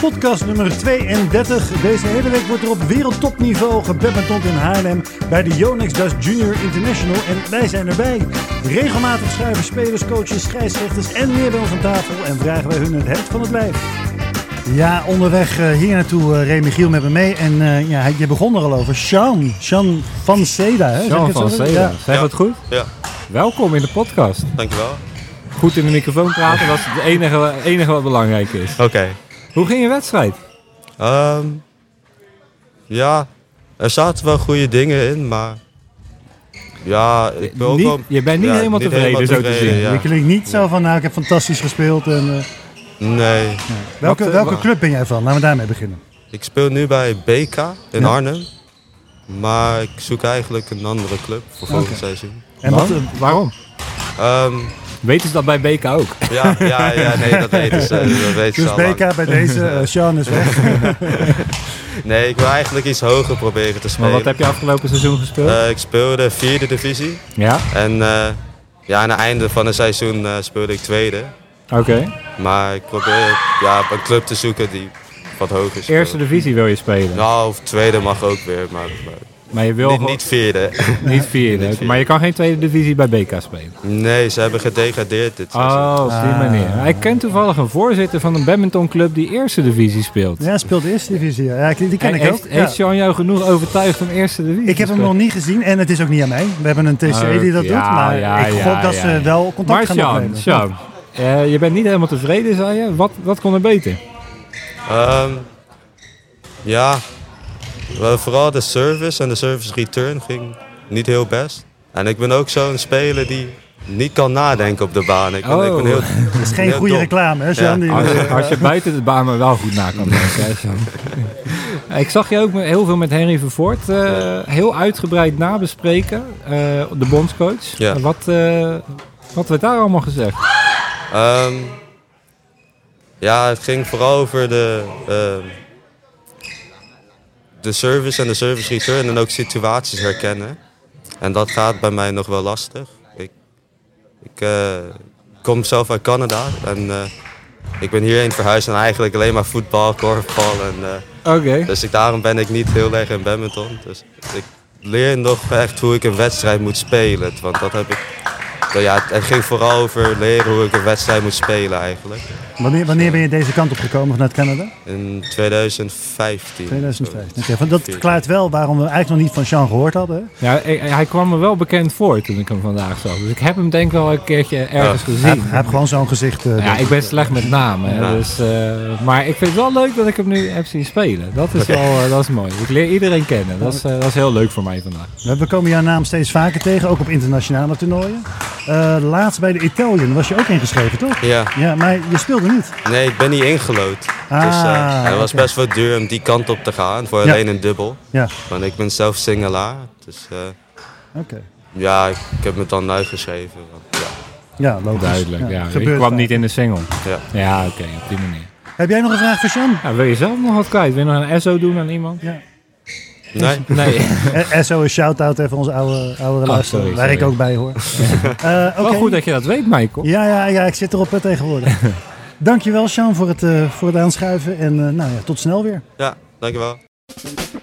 Podcast nummer 32. Deze hele week wordt er op wereldtopniveau gebadminton in Haarlem bij de Yonex Dust Junior International en wij zijn erbij. Regelmatig schuiven spelers, coaches, scheidsrechters en meer bij ons aan tafel en vragen wij hun het hemd van het lijf. Ja, onderweg eh, hier naartoe, eh, Remy Giel met me mee. En eh, ja, hij- je begon er al over. Sean, Sean van Seda. Hè? Zeg ik Jean het van zo? Zeden. Ja. Zeg Ja. dat goed? Ja, Welkom in de podcast. dankjewel. Goed in de microfoon praten, dat is het enige, enige wat belangrijk is. Oké. Hoe ging je wedstrijd? Ehm, ja, er zaten wel goede dingen in, maar... Ja, ik ben ook Niet- wel... je bent niet ja, helemaal tevreden, zo te zien. ja. Je klinkt niet zo van, nou, ik heb fantastisch gespeeld. En, eh, Nee, welke Wat, eh, welke wa- club ben jij van? Laten we daarmee beginnen. ik speel nu bij BK in Ja. Arnhem. Maar ik zoek eigenlijk een andere club voor volgend seizoen. En wat, Waarom? eh, Waarom? Ehm, Weten ze dat bij BK ook? ja, ja, ja, nee, dat weten ze. Dat weten dus ze al lang. BK bij deze, eh, Sean is weg. Nee, ik wil eigenlijk iets hoger proberen te spelen. Maar wat heb je afgelopen seizoen gespeeld? Eh, ik speelde vierde divisie. ja, En eh, ja, aan het einde van het seizoen eh, speelde ik tweede. oké. Maar ik probeer ja, een club te zoeken die wat hoger is. Eerste divisie wil je spelen, Nou, of tweede mag ook weer, maar, maar maar je wil niet, gewoon- niet vierde. niet vierde. vierde. Maar je kan geen tweede divisie bij BK spelen. Nee, ze hebben gedegradeerd dit seizoen. Oh, op die Ah. manier. Ik ken toevallig een voorzitter van een badmintonclub die eerste divisie speelt. Ja, speelt de eerste divisie. ja. Ja, die die ken En ik heeft, ook. ja. Heeft Sean jou genoeg overtuigd om eerste divisie Ik heb te hem nog spelen? niet gezien en het is ook niet aan mij. We hebben een TC die dat Oké, doet, Ah, ja, maar ja, ik ja, gok dat ja, ze ja. wel contact Maar gaan Sjan, opnemen. Sjan, eh, je bent niet helemaal tevreden, zei je. Wat, wat kon er beter? Ehm, ja, wel vooral de service en de service return ging niet heel best. En ik ben ook zo'n speler die niet kan nadenken op de baan. Ik ben, ik ben Oh. heel, Dat is geen heel goede dom. reclame, hè, Sean? Die- Als je, als je buiten de baan maar wel goed na kan denken. hè, Sjan. Ik zag je ook met- heel veel met Henry Vervoort eh, heel uitgebreid nabespreken, eh, de bondscoach. Ja. Wat, eh, wat werd daar allemaal gezegd? Ehm, ja, het ging vooral over de, ehm, de service en de service return en ook situaties herkennen. En dat gaat bij mij nog wel lastig. Ik, ik eh, kom zelf uit Canada en eh, ik ben hierheen verhuisd en eigenlijk alleen maar voetbal, korfbal. En, eh, Oké. dus ik, daarom ben ik niet heel erg in badminton. Dus ik leer nog echt hoe ik een wedstrijd moet spelen. Want dat heb ik... Nou ja, het het ging vooral over leren hoe ik een wedstrijd moet spelen eigenlijk. Wanneer, wanneer ben je deze kant op gekomen vanuit Canada? In 2015. 2015. Oké, van dat verklaart wel waarom we eigenlijk nog niet van Sean gehoord hadden. hè? Ja, hij, hij kwam me wel bekend voor toen ik hem vandaag zag. Dus ik heb hem denk ik wel een keertje ergens Hij, gezien. heeft- hij heeft gewoon zo'n gezicht. eh, Ja, denk ik ben slecht met namen. hè, Ja. Dus, eh, maar ik vind het wel leuk dat ik hem nu heb zien spelen. Dat is wel eh, dat is mooi. Ik leer iedereen kennen. Dat is, eh, dat is heel leuk voor mij vandaag. dus. We we komen jouw naam steeds vaker tegen, ook op internationale toernooien. Eh, laatst bij de Italian was je ook ingeschreven, toch? Ja, Ja, maar je speelde niet. nee, ik ben niet ingelood. dus Ah, eh, het was oké. best wel duur om die kant op te gaan voor Ja. alleen een dubbel. Ja, Want ik ben zelf singelaar. Dus eh, oké. ja, ik, ik heb me dan uitgeschreven. Want, ja. Ja, logisch. Duidelijk. Ja, ik gebeurt kwam vaak. niet in de single. Ja. Ja, oké, op die manier. Heb jij nog een vraag voor Sean? Ja, wil je zelf nog wat kwijt? Wil je nog een SO doen aan iemand? Nee? Nee. Eh, SO, een shout-out even onze oude, oude luisteraar, Oh, sorry, waar ik sorry. ook bij hoor. Eh, oké. Wel goed dat je dat weet, Michael. Ja, ja, ja, ik zit erop hè, tegenwoordig. Dankjewel, Sean, voor het, eh, voor het aanschuiven. En eh, nou ja, tot snel weer. Ja, dankjewel.